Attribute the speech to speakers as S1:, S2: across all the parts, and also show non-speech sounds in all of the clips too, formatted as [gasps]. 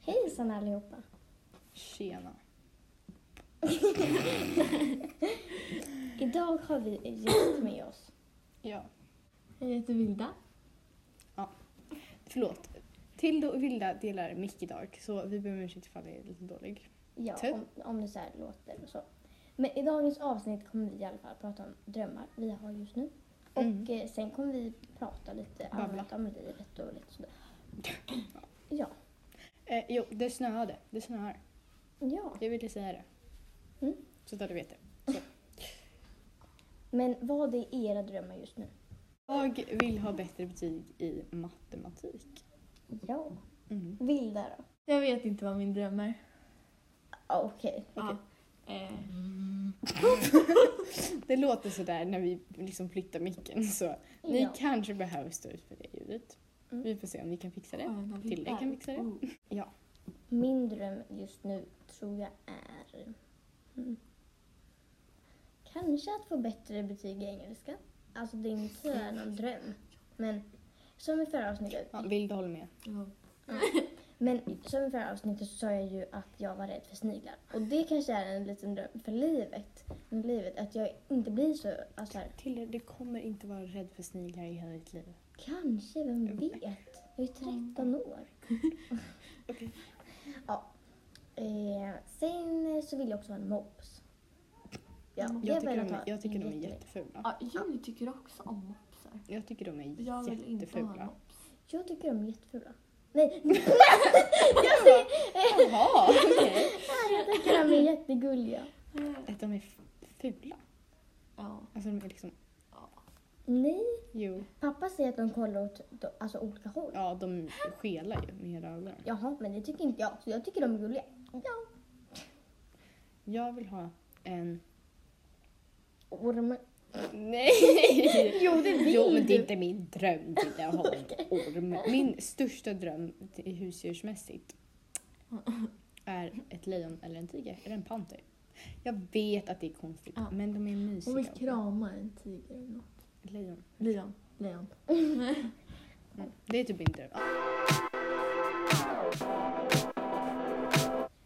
S1: Hejsan allihopa.
S2: Tjena.
S1: Idag har vi en gäst med oss.
S2: Ja,
S3: Jag heter Vilda.
S2: förlåt. Tilde och Vilda delar mick idag så vi ber om ursäkt ifall jag är lite dålig.
S1: Ja,
S2: Tur.
S1: om, om det så här låter och så. Men i dagens avsnitt kommer vi i alla fall prata om drömmar vi har just nu. Och
S2: Mm.
S1: eh, sen kommer vi prata lite
S2: Babbla.
S1: allmänt om livet och lite
S2: [laughs]
S1: sådär. Ja.
S2: Eh, jo, det snöade. Det snöar.
S1: Ja.
S2: Jag ville säga det.
S1: Mm.
S2: Så att du vet det.
S1: Men vad är era drömmar just nu?
S2: Jag vill ha bättre betyg i matematik.
S1: Ja.
S2: Mm.
S1: Vilda då?
S3: Jag vet inte vad min dröm är.
S1: Ah, Okej.
S2: Okej.
S3: Ja. Eh,
S2: Mm. Det låter sådär när vi liksom flyttar micken så ni
S1: Ja.
S2: kanske behöver stå ut för det ljudet.
S1: Mm.
S2: Vi får se om vi kan fixa det.
S3: vad vill
S2: Tilde
S3: jag?
S2: kan fixa det.
S3: Oh.
S1: Min dröm just nu tror jag är... Mm, kanske att få bättre betyg i engelska. Alltså det är inte så här någon dröm. Men som i förra avsnittet.
S2: Ja, Vilda håller med.
S3: Ja.
S1: Men som i förra avsnittet så sa jag ju att jag var rädd för sniglar. Och det kanske är en liten dröm för livet. Med livet att jag inte blir så... Alltså så här,
S2: Tilde, du kommer inte vara rädd för sniglar i hela ditt liv.
S1: kanske, vem vet? Jag är 13 år.
S2: Mm. [laughs] Okej.
S1: Ja. Eh, sen så vill jag också ha en mops. Ja, det
S2: Mm. Jag
S1: vill
S2: tycker, de,
S1: ha
S2: är- jag tycker de är
S1: jättemycket.
S2: jättefula.
S3: Ja, jag tycker också om mopsar.
S2: Jag tycker de är
S3: Jag vill inte ha
S2: jättefula.
S3: mops.
S1: Jag tycker de är jättefula. Nej, [laughs] nej
S2: [laughs] Jaha, okej.
S1: jag tycker de är jättegulliga.
S3: Eh,
S2: Att de är f- fula.
S3: Ja.
S2: Alltså de är liksom,
S1: Nej,
S2: jo.
S1: pappa säger att de kollar åt då, alltså, olika håll.
S2: Ja, de skelar ju med hela ögonen.
S1: Jaha, men det tycker inte jag. Så jag tycker de är gulliga. Ja.
S2: Jag vill ha en...
S1: Orm.
S2: Nej!
S1: Jo, det vill
S2: [laughs] Jo, men det är
S1: du.
S2: inte min dröm Tilda, att ha en orm. Min största dröm till- husdjursmässigt är ett lejon eller en tiger, eller en panter. Jag vet att det är konstigt,
S3: Ja.
S2: men de är
S3: Hon vill
S2: mysiga.
S3: krama en tiger eller något.
S2: Lejon.
S3: Lejon. Lejon.
S2: Mm. Det är typ min dröm.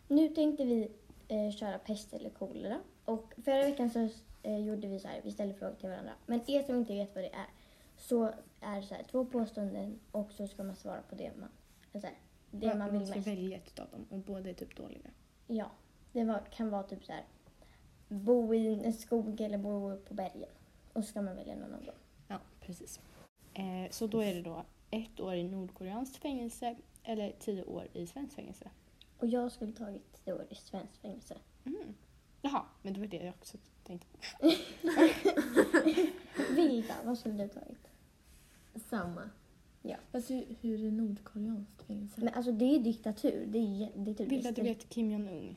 S1: Nu tänkte vi eh, köra pest eller kolera. Och förra veckan så eh, gjorde vi så här, vi ställde frågor till varandra. Men er som inte vet vad det är, så är det så här, två påståenden och så ska man svara på det man, så här, det
S2: Ja,
S1: man vill
S2: ska
S1: mest.
S2: välja ett av dem och båda är typ dåliga.
S1: Ja, det var, kan vara typ så här. Bo i en skog eller bo på bergen. Och så ska man välja någon av dem.
S2: Ja, precis. Eh, så då är det då ett år i nordkoreanskt fängelse eller tio år i svenskt fängelse.
S1: Och jag skulle tagit det år i svenskt fängelse.
S2: Mm. Jaha, men det var det jag också tänkte.
S1: Vilda, vad skulle du tagit?
S3: Samma.
S1: Ja.
S3: Fast hur, hur är nordkoreanskt fängelse?
S1: Men alltså det är ju diktatur. Det är, jä- det är typ
S2: Vilda, du
S1: extremt-
S2: vet Kim Jong-Un?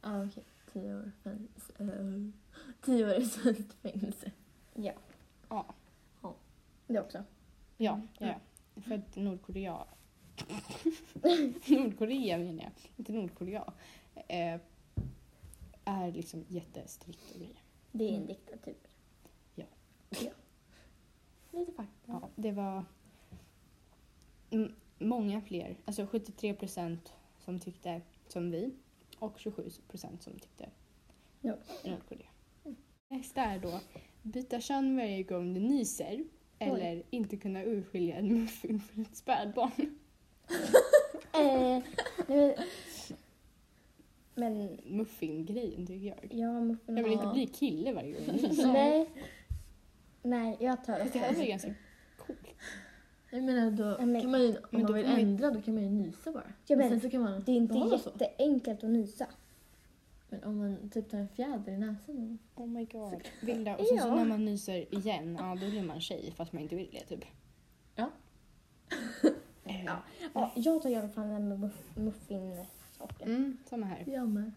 S3: Ah, okej. Tio år fängelse. Eh, Tio år i svenskt fängelse.
S1: Ja.
S2: Ja.
S1: Det också.
S2: Ja, ja.
S3: Mm.
S2: För att [laughs] Nordkorea... Nordkorea menar jag, inte Nordkorea. Eh, är liksom jättestrikt och grejer.
S1: Det är en diktatur.
S3: Lite fakta.
S2: Ja, det var m- många fler. Alltså 73 procent som tyckte som vi och 27 procent som tyckte
S1: Ja.
S2: Nordkorea. Nästa är då byta kön varje gång du nyser eller inte kunna urskilja en muffin från ett spädbarn.
S1: Eh, nej, men, men
S2: Muffin-grejen tycker jag.
S1: ja, muffin
S2: Jag vill
S1: har-
S2: inte bli kille varje gång jag
S1: [laughs]
S2: nyser.
S1: Nej. Nej, jag tar
S2: Fast
S1: också.
S2: det hade varit ganska coolt.
S3: Jag menar då
S1: Ja, men-
S3: kan man ju, om
S2: Men då
S3: man vill
S2: kan man ju-
S3: ändra då kan man ju nysa bara.
S1: Ja,
S3: men,
S1: men
S3: sen så kan man
S1: Det är inte
S3: behålla så.
S1: jätteenkelt att nysa.
S3: Men om man typ tar en fjäder i näsan.
S2: Oh my god. Vilda. Och sen så
S1: Ja.
S2: när man nyser igen, ja då blir man tjej fast man inte vill det typ.
S3: Ja.
S2: [laughs] Eh,
S1: Ja. Ja, jag tar i alla fall den med muff- muffinsorten.
S2: Mm, samma här.
S3: Jag med.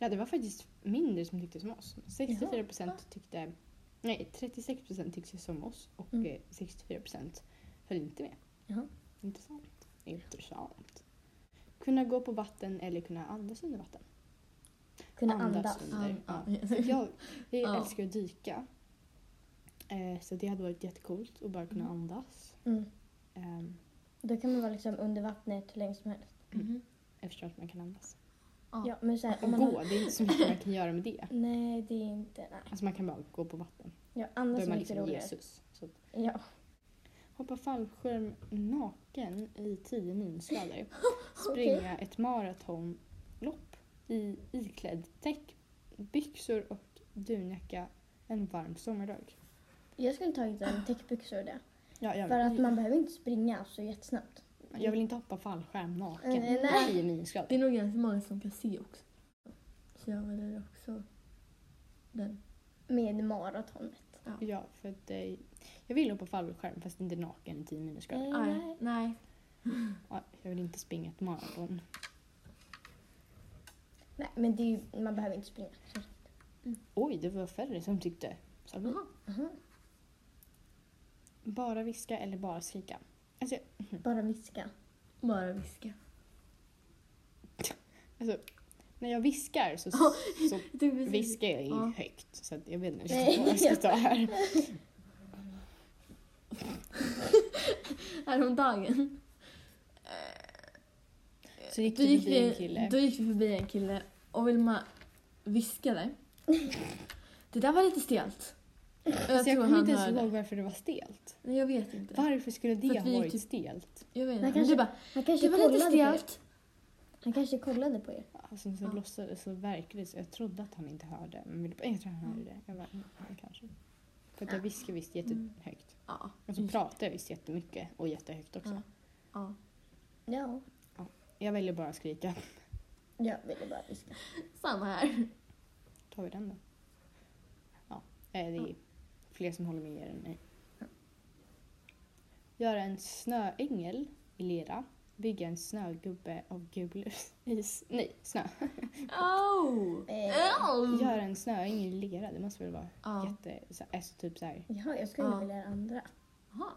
S2: Ja, det var faktiskt mindre som tyckte som oss. 64
S3: Jaha.
S2: procent tyckte... Nej, 36 procent tyckte som oss och
S1: Mm.
S2: eh, 64 procent höll inte med.
S1: Jaha.
S2: Intressant. Intressant. Kunna gå på vatten eller kunna andas under vatten.
S1: Kunna
S2: Mm.
S1: andas.
S2: under. Ja.
S3: Ja. [laughs]
S2: Jag, jag
S3: Ja.
S2: älskar att dyka. Eh, så det hade varit jättecoolt att bara kunna
S3: Mm.
S2: andas.
S1: Mm.
S2: Ehm,
S1: Då kan man vara liksom under vattnet hur länge som helst.
S3: Mhm.
S2: Eftersom att man kan andas.
S3: Ja.
S1: Ja, men så här, om
S2: Och
S1: man har...
S2: gå, det är inte så mycket man kan göra med det.
S1: Nej, det är inte... Nej.
S2: Alltså man kan bara gå på vatten.
S1: Ja,
S2: Då
S1: andas
S2: är
S1: är
S2: man
S1: mycket
S2: liksom
S1: roligare.
S2: Jesus. Så att
S1: Ja.
S2: hoppa fallskärm naken i 10 minusgrader.
S1: [laughs] Okej.
S2: Springa ett maratonlopp i iklädd täck, byxor och dunjacka en varm sommardag.
S1: Jag skulle tagit en täckbyxor och det.
S2: Ah. Ja, jag,
S1: För att man behöver inte springa så jättesnabbt.
S2: jag vill inte hoppa fallskärm naken
S1: Nej,
S2: i
S1: nej.
S2: 10
S3: Det
S2: minusgrader.
S3: är nog ganska många som kan se också. Så jag väljer också den.
S1: Med maratonet.
S2: Ja, för att, eh, jag vill hoppa fallskärm fast inte naken i 10 minusgrader.
S1: Eh, Nej.
S3: Aj, nej.
S1: Mm.
S2: Ja, jag vill inte springa ett maraton.
S1: Nej, men det är ju, man behöver inte springa. Så.
S2: Oj, det var färre som tyckte. sa vi.
S3: Jaha.
S1: Aha.
S2: Bara viska eller bara skrika? Alltså,
S1: Bara viska.
S3: Bara viska.
S2: alltså när jag viskar så, så
S3: Jag tycker precis-
S2: viskar jag ju
S3: Ja.
S2: högt. Så att jag vet inte
S1: Nej.
S2: vad jag ska ta här.
S3: [laughs] Häromdagen.
S2: Så gick
S3: Då
S2: du
S3: gick,
S2: förbi en
S3: vi,
S2: kille.
S3: då gick vi förbi en kille och Vilma viskade. Det där var lite stelt. Och Jag
S2: Så Alltså, jag
S3: tror
S2: kommer
S3: han
S2: inte ens
S3: hörde.
S2: ihåg varför det var stelt.
S3: Nej, jag vet inte.
S2: Varför skulle
S3: För
S2: det
S3: att
S2: ha
S3: vi gick
S2: varit
S3: typ-
S2: stelt?
S3: Jag
S1: Men
S3: vet inte. Men
S1: kanske-
S3: du bara,
S1: Han kanske,
S3: det var lite
S1: kollade på er.
S3: stelt.
S1: han kanske kollade på er.
S2: Alltså, så
S3: Ja.
S2: låtsades så verkligt. Jag trodde att han inte hörde. Men jag tror att han hörde det. Jag bara, "Mm, han kanske. För att jag
S1: Ja.
S2: viskar visst
S3: Mm.
S2: jättehögt.
S3: Ja.
S2: Och så pratar jag visst jättemycket och jättehögt också.
S3: Ja. ja.
S1: Ja,
S2: Jag väljer bara att skrika.
S1: jag ville bara viska.
S3: Samma här.
S2: Tar vi den då? Ja, eh, det är fler som håller med er än mig. Göra en snöängel i lera. Bygga en snögubbe av gul [laughs] is. Nej, snö.
S3: Oh!
S1: Eh.
S2: Göra en snöängel i lera, det måste väl vara
S3: Ja.
S2: jätte... Så, alltså typ så här.
S1: Ja, jag skulle
S3: Ja.
S1: vilja göra andra.
S3: Jaha.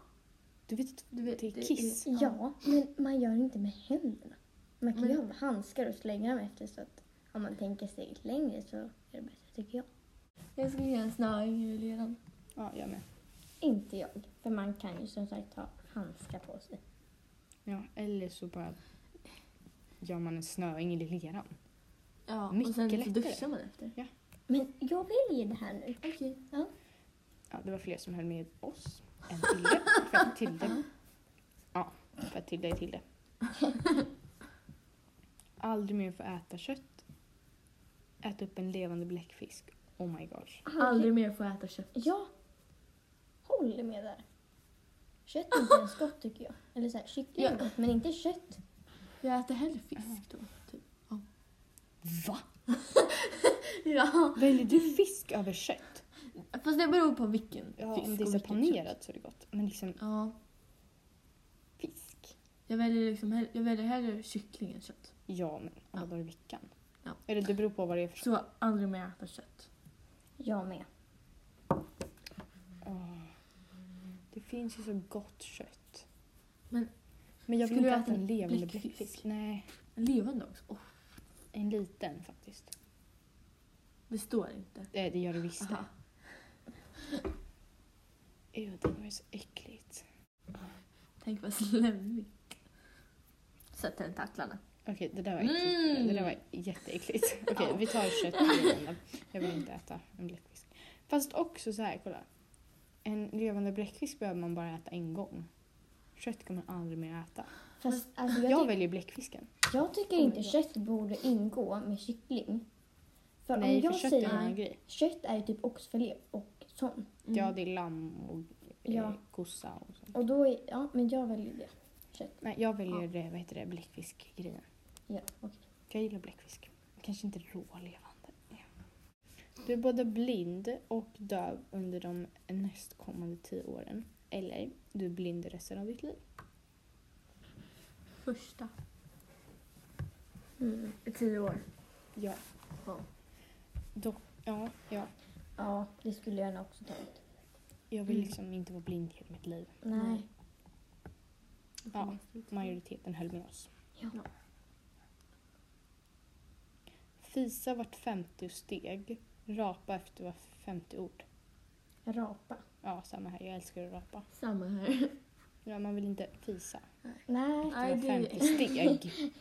S2: Du vet att
S3: Du vet,
S2: det
S3: det
S2: är
S3: är-
S2: kiss.
S1: Ja,
S3: Ja.
S1: men man gör inte med händerna. Man kan ju
S3: Men-
S1: ha handskar och slänga dem efter så att om man tänker steget längre så är det bättre tycker jag.
S3: Jag ska göra en snöängel redan.
S2: Ja, jag med.
S1: Inte jag, för man kan ju som sagt ha handskar på sig.
S2: Ja, eller så bara gör man en snöängel i leran.
S3: Ja,
S2: Mycket
S3: och sen
S2: lättare.
S3: så duschar man efter.
S1: Men jag vill ge det här nu.
S3: Okej.
S2: Ja, det var fler som höll med oss än Tilde. För att Tilde... Ja, för att Tilde är Tilde. Aldrig mer få äta kött. Äta upp en levande bläckfisk. Oh my gosh.
S3: Aldrig mer få äta kött.
S1: Ja, håller med där. Kött är inte ens gott tycker jag. Eller så här, kyckling är
S3: Ja.
S1: gott, men inte kött.
S3: Jag äter hellre fisk då. Typ.
S2: Va?
S3: [laughs] Ja.
S2: Väljer du fisk över kött?
S3: Fast det beror på vilken
S2: Ja,
S3: fisk
S2: om det är
S3: och
S2: så
S3: vilket kött.
S2: panerat så är det gott. Men liksom
S3: Ja.
S2: fisk?
S3: Jag väljer, liksom, hell- jag väljer hellre kyckling än kött.
S2: Ja, men alla dagar i veckan.
S3: Ja.
S2: Eller det beror på vad det är för kött.
S3: Så aldrig mer äta kött.
S1: Jag med.
S2: Åh. Det finns ju så gott kött.
S3: Men-
S2: men jag vill
S3: Skulle
S2: inte
S3: du
S2: äta
S3: äta
S2: en levande
S3: bläckfisk?
S2: bläckfisk. Nej,
S3: Levande också? Oh,
S2: en liten faktiskt.
S3: det står inte.
S2: Eh, Det, det gör det visst
S3: Aha.
S2: det. Ew, det var ju så äckligt.
S3: Tänk vad slemmigt. Sätt tentaklarna.
S2: Okej, det där var äckligt.
S3: Mm.
S2: Det där var jätteäckligt. Okej,
S3: Ja.
S2: vi tar kött i levande. Jag vill inte äta en bläckfisk. Fast också så här, kolla. En levande bläckfisk behöver man bara äta en gång. Kött kan man aldrig mer äta.
S1: Fast alltså,
S2: Jag,
S1: jag, ty-
S2: väljer bläckfisken.
S1: jag tycker
S3: Oh my
S1: inte
S3: God.
S1: kött borde ingå med kyckling. För om
S2: Nej, för
S1: jag
S2: kött är
S1: säger
S2: en annan grej.
S1: Kött är ju typ oxfilé och sånt.
S3: Mm.
S2: Ja, det är lamm och eh,
S1: Ja.
S2: kossa och sånt.
S1: Och då är, ja, men jag väljer det. Kött.
S2: Nej, jag väljer,
S3: Ja.
S2: ja. vad heter det, bläckfiskgrejen.
S1: Ja, okej.
S2: Jag gillar bläckfisk. Kanske inte rålevande. Du är både blind och döv under de nästkommande tio åren. Eller du är blind resten av ditt liv.
S3: Första.
S1: Mm.
S3: I tio år.
S2: Ja.
S3: Ja.
S2: Dock, ja, ja.
S1: Ja, det skulle jag nog också tagit.
S2: Jag vill
S3: Mm.
S2: liksom inte vara blind hela mitt liv.
S1: Nej.
S2: Ja. Majoriteten höll med oss.
S1: Ja.
S2: Fisa vart 50 steg. Rapa efter vart 50 ord.
S1: Rapa.
S2: Ja, samma här. Jag älskar att rapa.
S3: Samma här.
S2: Ja, man vill inte fisa.
S1: Nej.
S3: Nej,
S2: Det
S3: det-
S2: var 50 steg.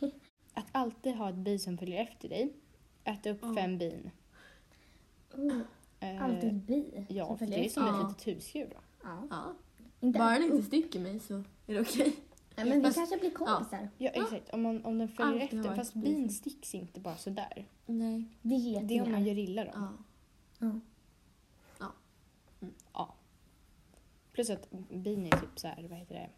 S2: Att alltid ha ett bi som följer efter dig. Äta upp
S3: Ja.
S2: fem bin.
S1: Oh,
S2: Eh,
S1: alltid ett bi
S2: Ja,
S1: som
S2: för
S1: följer
S2: det är
S1: efter.
S2: som
S3: Ja.
S2: ett litet husdjur. Då.
S1: Ja.
S3: Ja.
S1: Inte.
S3: Bara den inte sticker mig så är det okej.
S1: Nej, men vi
S3: Fast-
S1: kanske blir kompisar.
S2: Ja, exakt. Om, man, om den följer
S3: Alltid har
S2: efter.
S3: ett
S2: Fast
S3: bi
S2: bin
S3: som-
S2: sticks inte bara sådär.
S3: Nej.
S1: Vi
S2: Det är om
S1: getingar.
S2: man gör illa dem.
S3: Ja.
S1: Ja.
S2: Ja. Plus att bin är typ så här, vad heter det?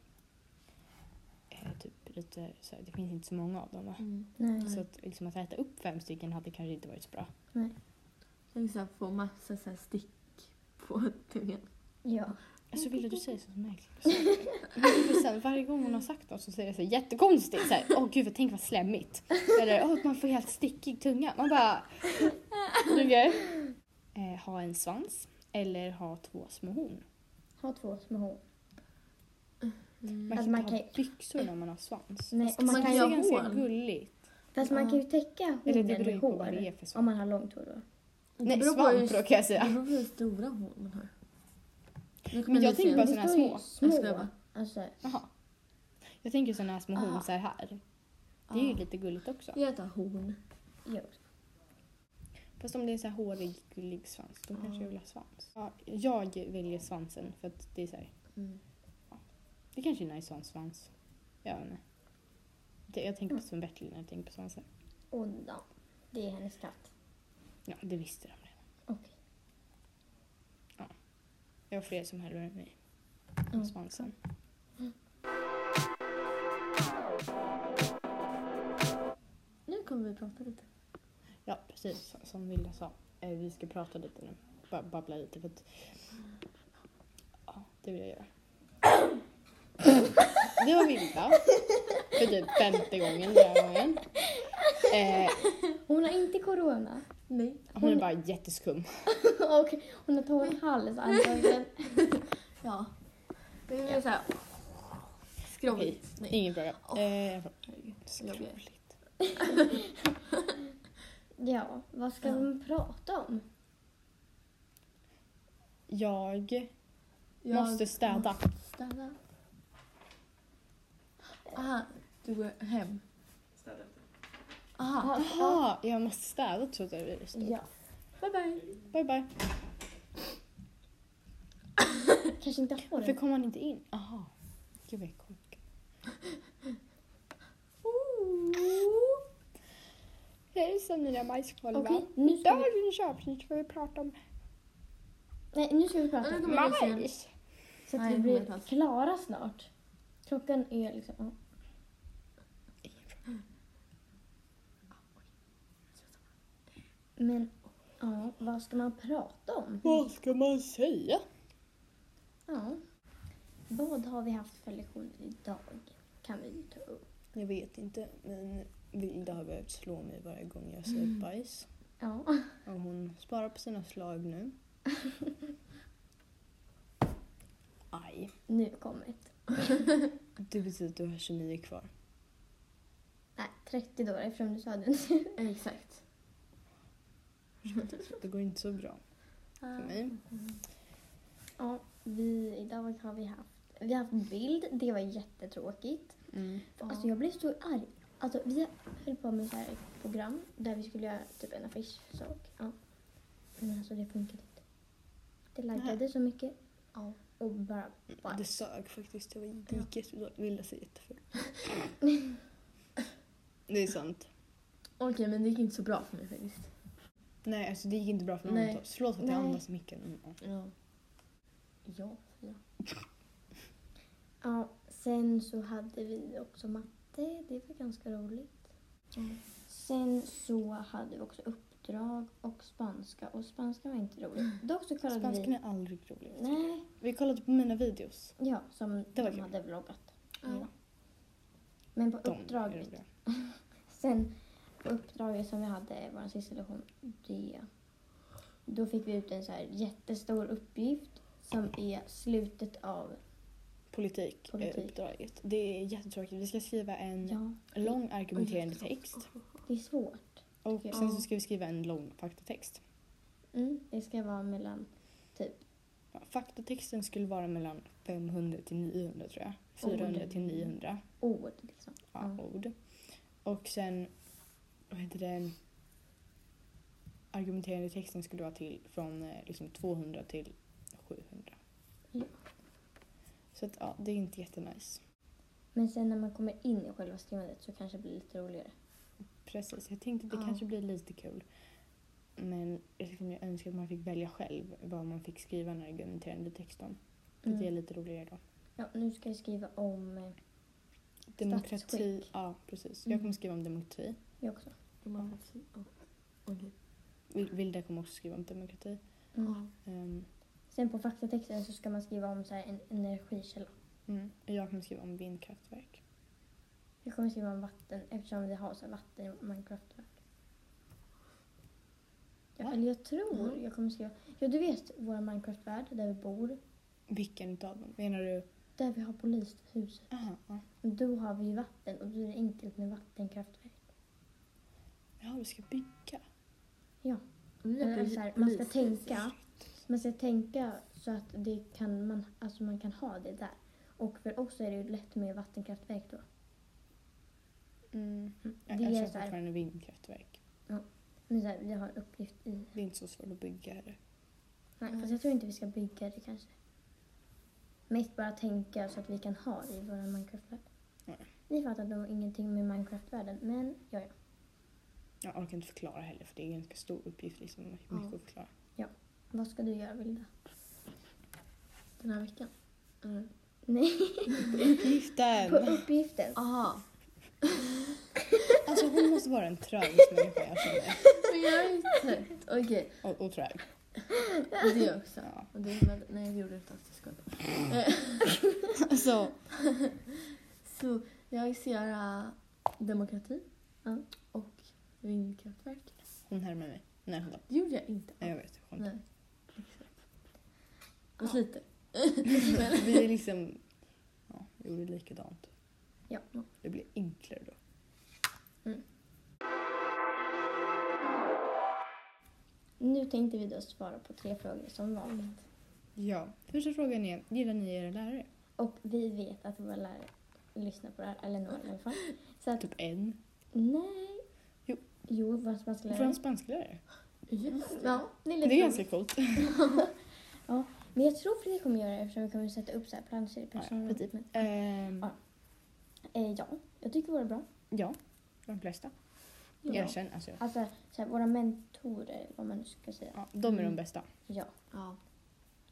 S2: Eh, typ lite så här, det finns inte så många av dem va?
S3: Mm.
S1: Nej.
S2: Så att, liksom, att äta upp fem stycken hade kanske inte varit så bra.
S3: Tänk så här, få massa så här stick på [laughs] tungan.
S1: Ja.
S2: Alltså ville du säga så
S1: [laughs]
S2: märkligt? Men sen, varje gång hon har sagt något så säger jag så här, jättekonstigt. Så här, Åh gud, vad- tänk vad slemmigt. Eller åh, man får helt stickig tunga. Man bara... Okej. Eh, ha en svans eller ha två små horn.
S1: Ha två små horn.
S3: Mm.
S2: Man
S1: Alltså,
S2: kan
S1: man
S2: inte ha
S1: kan
S2: byxor när man har svans.
S1: Nej, och man
S2: det
S1: kan
S2: är
S1: ju Mm.
S3: ha
S2: ganska
S3: hår.
S2: gulligt.
S1: Fast man kan ju täcka
S2: Eller
S1: hornen
S2: det beror ju
S1: med
S2: på vad det är
S1: hår.
S2: för svans.
S1: Om man har långt hår då.
S2: Nej,
S3: beror på
S2: svamp
S3: hur-
S2: då kan jag
S3: Det
S2: säga.
S3: beror på hur stora hål man har. Nu kommer
S2: Men jag
S3: ni
S2: tänker
S3: se.
S2: bara sådana här
S1: står ju
S2: små.
S3: Jag
S1: små.
S3: skojar bara.
S1: alltså,
S2: Jaha. Jag tänker sådana här små horn
S1: Ah.
S3: Aha.
S2: så här här. Det är ju
S3: Ja.
S2: lite gulligt också.
S3: Jag tar horn.
S1: jo.
S2: Fast om det är så här hårig, gullig svans, då kanske jag vill ha svans. Ja, jag väljer svansen för att det är så här,
S3: Mm.
S2: det kanske är nice att ha en svans. Jag vet inte. Det- Jag tänker på Sven Bertil när jag tänker på svansen.
S1: Och då. Det är hennes katt.
S2: Ja, det visste de redan.
S1: Okej.
S2: Jag har fler som hellre än mig.
S1: Mm.
S2: Om svansen.
S3: Nu kommer vi prata lite.
S2: Ja, precis. Som Villa sa. Eh, Vi ska prata lite nu. Bara babbla lite för att... Ja, det vill jag göra. Det var Villa. För typ femte gången den här gången. Eh,
S1: Hon har inte corona. [laughs]
S3: Nej.
S2: hon är bara jätteskum.
S1: och hon har torr hals antagligen.
S3: Ja. Det är så här skrovligt. Nej.
S2: Ingen fråga. Eh,
S3: Herregud, vad jobbig jag är.
S2: skrovligt.
S1: Ja, vad ska
S3: Ja.
S1: man prata om?
S2: jag
S3: Jag
S2: måste städa.
S3: måste Städa. Aha, du går hem.
S4: Städa efter.
S3: Aha,
S2: Aha, jag måste städa trodde jag det stod.
S1: Ja.
S3: bye bye.
S2: Bye bye.
S1: Kanske inte har
S2: Varför
S1: den.
S2: kom han inte in? Aha. Gud vad jag är korkad. Hejsan mina majskolvar.
S1: Okej, nu
S2: I
S1: ska vi-
S2: dagens avsnitt får vi prata om
S1: Nej, nu ska vi prata
S3: Ja, nu
S1: om
S3: kommer- jag se.
S2: majs.
S1: så att
S3: Nej,
S1: vi
S3: det
S1: blir
S3: kommer jag ta.
S1: klara snart. Klockan är liksom... ja. Men, ja, vad ska man prata om?
S2: Vad ska man säga?
S1: Ja. Vad har vi haft för lektioner idag? Kan vi ta upp.
S2: Jag vet inte, men Vilda har behövt slå mig varje gång jag
S1: Mm.
S2: säger bajs.
S1: Ja.
S2: Och hon sparar på sina
S1: [laughs]
S2: slag nu. Aj.
S1: Nu kommer ett.
S2: Det betyder att du har 29 kvar.
S1: Nej, 30 dagar eftersom du sa det nu.
S3: Exakt.
S2: Det går inte så bra för mig.
S1: Ja, vi, idag har vi haft, vi har haft bild. Det var jättetråkigt.
S2: Mm.
S1: För, Alltså jag blev så arg. Alltså vi höll på med så här ett program där vi skulle göra typ en affischsak. Ja. Men alltså det funkade inte. Det laggade så mycket. Ja. Och bara, bara
S2: Det sög faktiskt. Det var det gick jättedåligt. Vilda ser
S1: [laughs]
S2: jätteful Det är sant.
S3: Okej, men det gick inte så bra för mig faktiskt.
S2: Nej, alltså det gick inte bra för någon
S3: Nej.
S2: av oss. Förlåt att jag
S1: Nej.
S2: andas i micken. Mm, ja.
S3: Ja. Ja, ja.
S1: Ja, sen så hade vi också matte. Det var ganska roligt.
S3: Mm.
S1: Sen så hade vi också uppdrag och spanska. Och spanska var inte
S2: Mm.
S1: roligt. Dock så kollade
S2: Spanskan är aldrig rolig.
S1: vi... Nej,
S2: Vi kollade på mina videos.
S1: ja, som
S2: Det var
S1: de
S2: kul.
S1: hade vloggat.
S3: Ja.
S1: Men på
S2: De är
S1: uppdraget.
S2: roliga.
S1: Sen på uppdraget som vi hade, vår sista lektion, det... Då fick vi ut en så här jättestor uppgift som är slutet av...
S2: Politik,
S1: Politik.
S2: Politik. uppdraget. Det är jättetråkigt. Vi ska skriva en
S1: Ja,
S2: lång argumenterande text.
S1: det är svårt.
S2: Och
S1: Ja.
S2: sen så ska vi skriva en lång faktatext.
S1: Mm, det ska vara mellan typ
S2: Ja, Faktatexten skulle vara mellan 500 till 900 tror jag.
S1: Ord.
S2: 400 till 900
S1: Ord liksom.
S2: ja,
S1: Mm.
S2: ord. Och sen, vad heter det? Argumenterande texten skulle vara till från eh, liksom 200 till 700.
S1: Ja.
S2: Så att, ja, det är inte jättenice.
S1: Men sen när man kommer in i själva skrivandet så kanske det blir lite roligare.
S2: Precis, jag tänkte att det
S1: Ja.
S2: kanske blir lite kul. Men liksom, jag önskar att man fick välja själv vad man fick skriva en argumenterande text om. För
S1: Mm.
S2: Det är lite roligare då.
S1: Ja, nu ska jag skriva om... eh,
S2: Demokrati,
S1: Statsskick.
S2: ja precis.
S3: Mm.
S2: Jag kommer skriva om demokrati.
S1: Jag också.
S3: Demokrati. Ja. Okej.
S2: Vil- Vilda kommer också skriva om demokrati.
S1: Mm.
S3: Ja.
S2: Ehm,
S1: Sen på faktatexten så ska man skriva om så här en energikälla.
S2: mm. Jag kommer skriva om vindkraftverk.
S1: Jag kommer skriva om vatten eftersom vi har så här vatten i Minecraft. Ja,
S2: Va?
S1: eller jag tror
S3: Mm.
S1: jag kommer skriva... Ja, du vet vår Minecraft-värld där vi bor.
S2: Vilken utav dem? Menar du?
S1: Där vi har polishuset.
S2: Aha, ja.
S1: Men då har vi ju vatten och då är det enkelt med vattenkraftverk.
S2: ja, vi ska bygga.
S3: Vi är
S1: Eller
S3: poli-
S1: så här, man ska
S3: polis.
S1: tänka. Man ska tänka så att det kan man, alltså man kan ha det där. Och för oss är det ju lätt med vattenkraftverk då.
S2: Mm. Jag,
S1: Det är
S2: jag kör
S1: så här-
S2: fortfarande vindkraftverk.
S1: Men så här, vi har en uppgift i...
S2: Det är inte så svårt att bygga här.
S1: Nej,
S2: Mm.
S1: fast jag tror inte vi ska bygga det kanske. Mest bara tänka så att vi kan ha det i vår Minecraft-värld.
S2: Mm.
S1: Ni fattar nog ingenting med Minecraft-världen, men ja, ja.
S2: Jag orkar inte förklara heller för det är en ganska stor uppgift. Liksom, mycket
S3: Ja.
S2: att förklara.
S1: Vad ska du göra, Vilda?
S3: Den här veckan. Mm.
S1: Nej, [laughs] på
S2: Uppgiften!
S1: uppgiften.
S3: [laughs] Aha.
S2: Alltså hon måste vara en transmänniska jag känner.
S3: Men jag är ju trött. Okej.
S2: Och, och trög.
S3: Och Det är jag också.
S2: Ja.
S3: Och det, men, nej, det gjorde jag inte alls. Jag skojar. [laughs]
S2: Alltså,
S3: Så jag ska göra demokrati
S1: Ja.
S3: och vindkraftverk.
S2: hon härmar mig. Nej, hon
S3: Det gjorde jag inte.
S2: Nej, jag vet. Hon
S3: Nej. Exakt. Och lite.
S2: [laughs] Vi är liksom... Ja, vi gjorde likadant.
S1: Ja.
S2: Det blir enklare då.
S1: Nu tänkte vi då svara på tre frågor som vanligt.
S2: Ja. Första frågan är, gillar ni era lärare?
S1: Och vi vet att våra lärare lyssnar på det här, eller några i alla fall. Så att,
S2: Typ en.
S1: nej.
S2: Jo.
S1: Jo, vår spanska
S2: Från en
S1: lärare.
S2: spansklärare.
S3: Just det.
S1: Ja, det är
S2: Det
S1: lite
S2: är
S1: roligt.
S2: ganska coolt.
S1: [laughs] Men jag tror Fredrik kommer göra det eftersom vi kommer sätta upp så här planscher i personalrummet.
S2: Ehm,
S1: Eh, ja, jag tycker våra är bra.
S2: ja, de flesta.
S1: Ja.
S2: Erkänn. Alltså,
S1: Alltså så här, våra mentorer, eller vad man nu ska säga.
S2: ja, de är de
S3: Mm.
S2: bästa.
S1: Ja.
S3: Ja.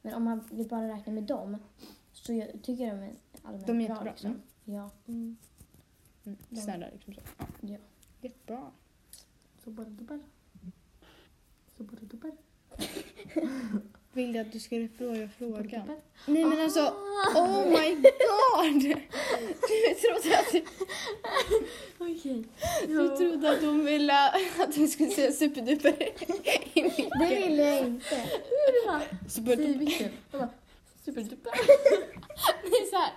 S1: Men om man vill bara räkna med dem så jag tycker jag de är allmänt
S2: De är
S1: bra.
S2: jättebra,
S1: Liksom.
S2: mm. [laughs]
S1: Ja.
S3: Mm.
S2: Mm,
S1: De-
S2: snälla liksom så. Ja.
S1: Ja.
S2: Jättebra.
S3: Så bara du bara. Så bara du bara.
S2: [laughs] Vill du att du ska repetera frågan?
S3: Bara.
S2: Nej men alltså,
S3: Ah!
S2: oh my
S3: [laughs]
S2: god! Du trodde att, [laughs]
S3: Okej.
S2: du trodde att hon ville att vi skulle säga superduper.
S1: Det vill jag inte.
S3: Säg
S2: Superduper.
S3: vilken. Jag bara, [laughs] Superduper.
S2: Nej såhär.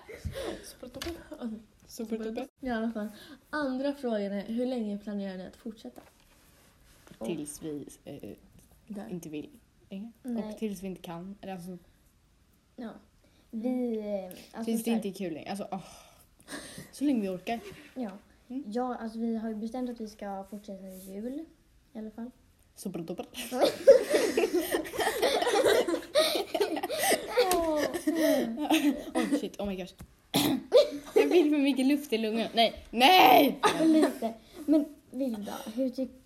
S3: Superduper. Okej.
S2: Superduper.
S3: I alla fall. Andra frågan är hur länge planerar ni att fortsätta?
S2: Tills vi eh,
S3: Där.
S2: inte vill längre.
S1: Nej.
S2: Och tills vi inte kan. Eller alltså,
S1: Ja. Vi... eh, Alltså,
S2: tills det
S1: så här-
S2: inte är kul längre. Alltså, åh. Så länge vi orkar.
S1: Ja.
S2: Mm.
S1: ja, alltså vi har ju bestämt att vi ska fortsätta med jul i alla fall.
S2: Superduper.
S1: [laughs]
S2: Oh shit, oh my gosh. Jag vill för mycket luft i lungorna. Nej, nej!
S1: Och lite. Men Vilda, hur tycker...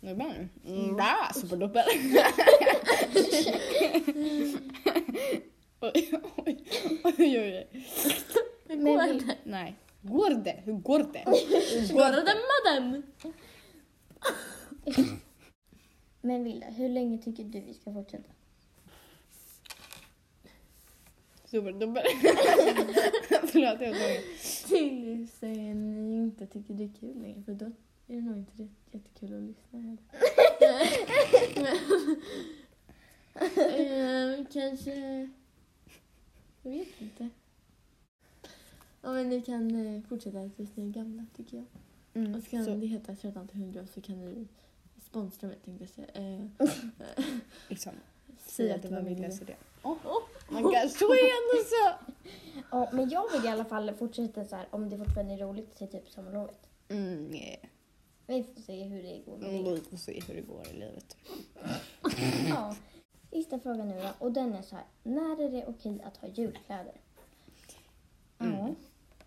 S2: Nu är det bra nu. Mm, Bra, superduper. Oj, oj, oj, oj, oj.
S3: Hur
S1: Men
S3: går
S1: vi-
S3: det?
S2: Nej. Går det? Hur går det? Hur
S3: Går det madam?
S1: Men Vilda, hur länge tycker du vi ska fortsätta?
S2: Superduper. Förlåt, jag var tvungen.
S3: Tills eh, ni inte tycker det är kul längre för då är det nog inte jätte- jättekul att lyssna [laughs] heller. Ehm, kanske... Jag vet inte. Ja, men ni kan eh, fortsätta tills ni är gamla tycker jag.
S2: Mm,
S3: Och så kan
S2: så,
S3: det heta 13 till 100 så kan ni sponsra mig tänkte jag säga. Eh,
S2: liksom, Säg att det var Viljas idé. Åh, oh, my gosh, så är ändå så!
S1: Ja, men jag vill i alla fall fortsätta så här om det fortfarande är roligt till typ sommarlovet.
S2: Mm, nej.
S1: Vi får se hur det går med det.
S2: Vi får se hur det går i livet.
S3: Mm.
S1: Ja. Sista frågan nu då, och den är så här. När är det okej att ha julkläder? Ja.
S2: Mm.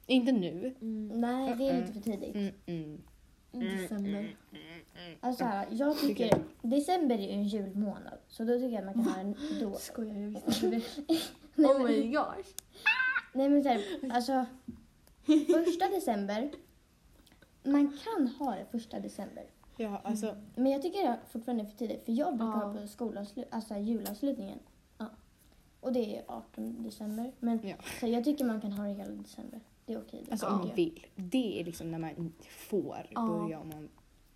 S2: Inte nu.
S3: Mm.
S1: Nej, det är lite för tidigt.
S2: Mm, mm.
S3: I december.
S1: Alltså här, jag tycker... December är ju en julmånad, så då tycker jag att man kan ha
S3: [laughs]
S1: den då.
S3: Skojar, jag visste [laughs] inte det.
S1: Nej,
S3: Oh
S1: men-
S3: my gosh.
S1: Nej men såhär,
S3: [laughs]
S1: alltså. Första december. Man kan ha det första december.
S2: Ja, alltså.
S1: Men jag tycker det fortfarande är för tidigt. För jag brukar
S3: Ja.
S1: ha på skolavslut, alltså julavslutningen. Ja. Och det är 18 december. Men
S2: Ja.
S1: så jag tycker man kan ha det hela december. Det är okej.
S2: Alltså
S1: tycker
S2: om man
S1: jag.
S2: vill. Det är liksom när man får
S3: Ja.
S2: börja om man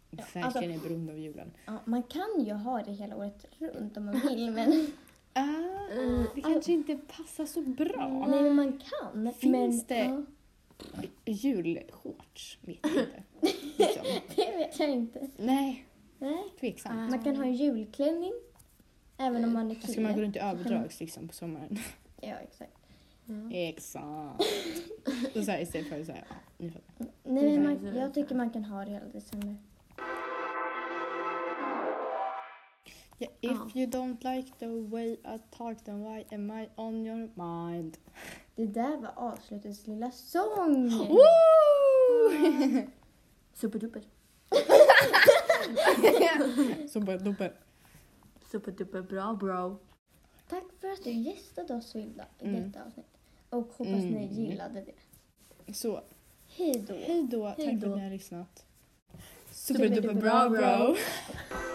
S1: Ja,
S2: verkligen
S1: alltså-
S2: är beroende av julen.
S1: ja, man kan ju ha det hela året runt om
S2: [laughs]
S1: man vill. Men,
S2: Ah,
S3: Mm.
S2: det kanske inte passar så bra.
S1: nej, men man kan.
S2: Finns
S1: men,
S2: det?
S1: Ja, [laughs]
S2: Julshorts vet jag inte. Liksom.
S1: det vet jag inte.
S2: Nej,
S1: Nej.
S2: tveksamt. Alltså,
S1: Man kan ha en julklänning. Även om man är
S2: Ska man gå
S1: kille.
S2: runt i överdrags liksom på sommaren?
S1: Ja, exakt.
S2: Exakt. Så så här, istället för så här, ja, ni fattar.
S1: Nej, men
S3: Det är
S1: man,
S3: så.
S1: jag tycker man kan ha det hela december.
S2: Yeah, if you don't like the way I talk then why am I on your mind?
S1: Det där var avslutets lilla
S2: [gasps]
S1: sång.
S2: Woo!
S3: Superduper.
S2: [laughs] Så bara, då bara,
S3: Superduper bra bro.
S1: Tack för att du gästade oss Vilda i
S2: Mm.
S1: detta avsnitt. Och hoppas
S2: Mm.
S1: ni gillade det.
S2: så,
S1: Hej då.
S2: hej då.
S3: Hej
S2: Tack för
S3: då.
S2: att ni har lyssnat.
S1: Superduper
S2: Superduper bra bro.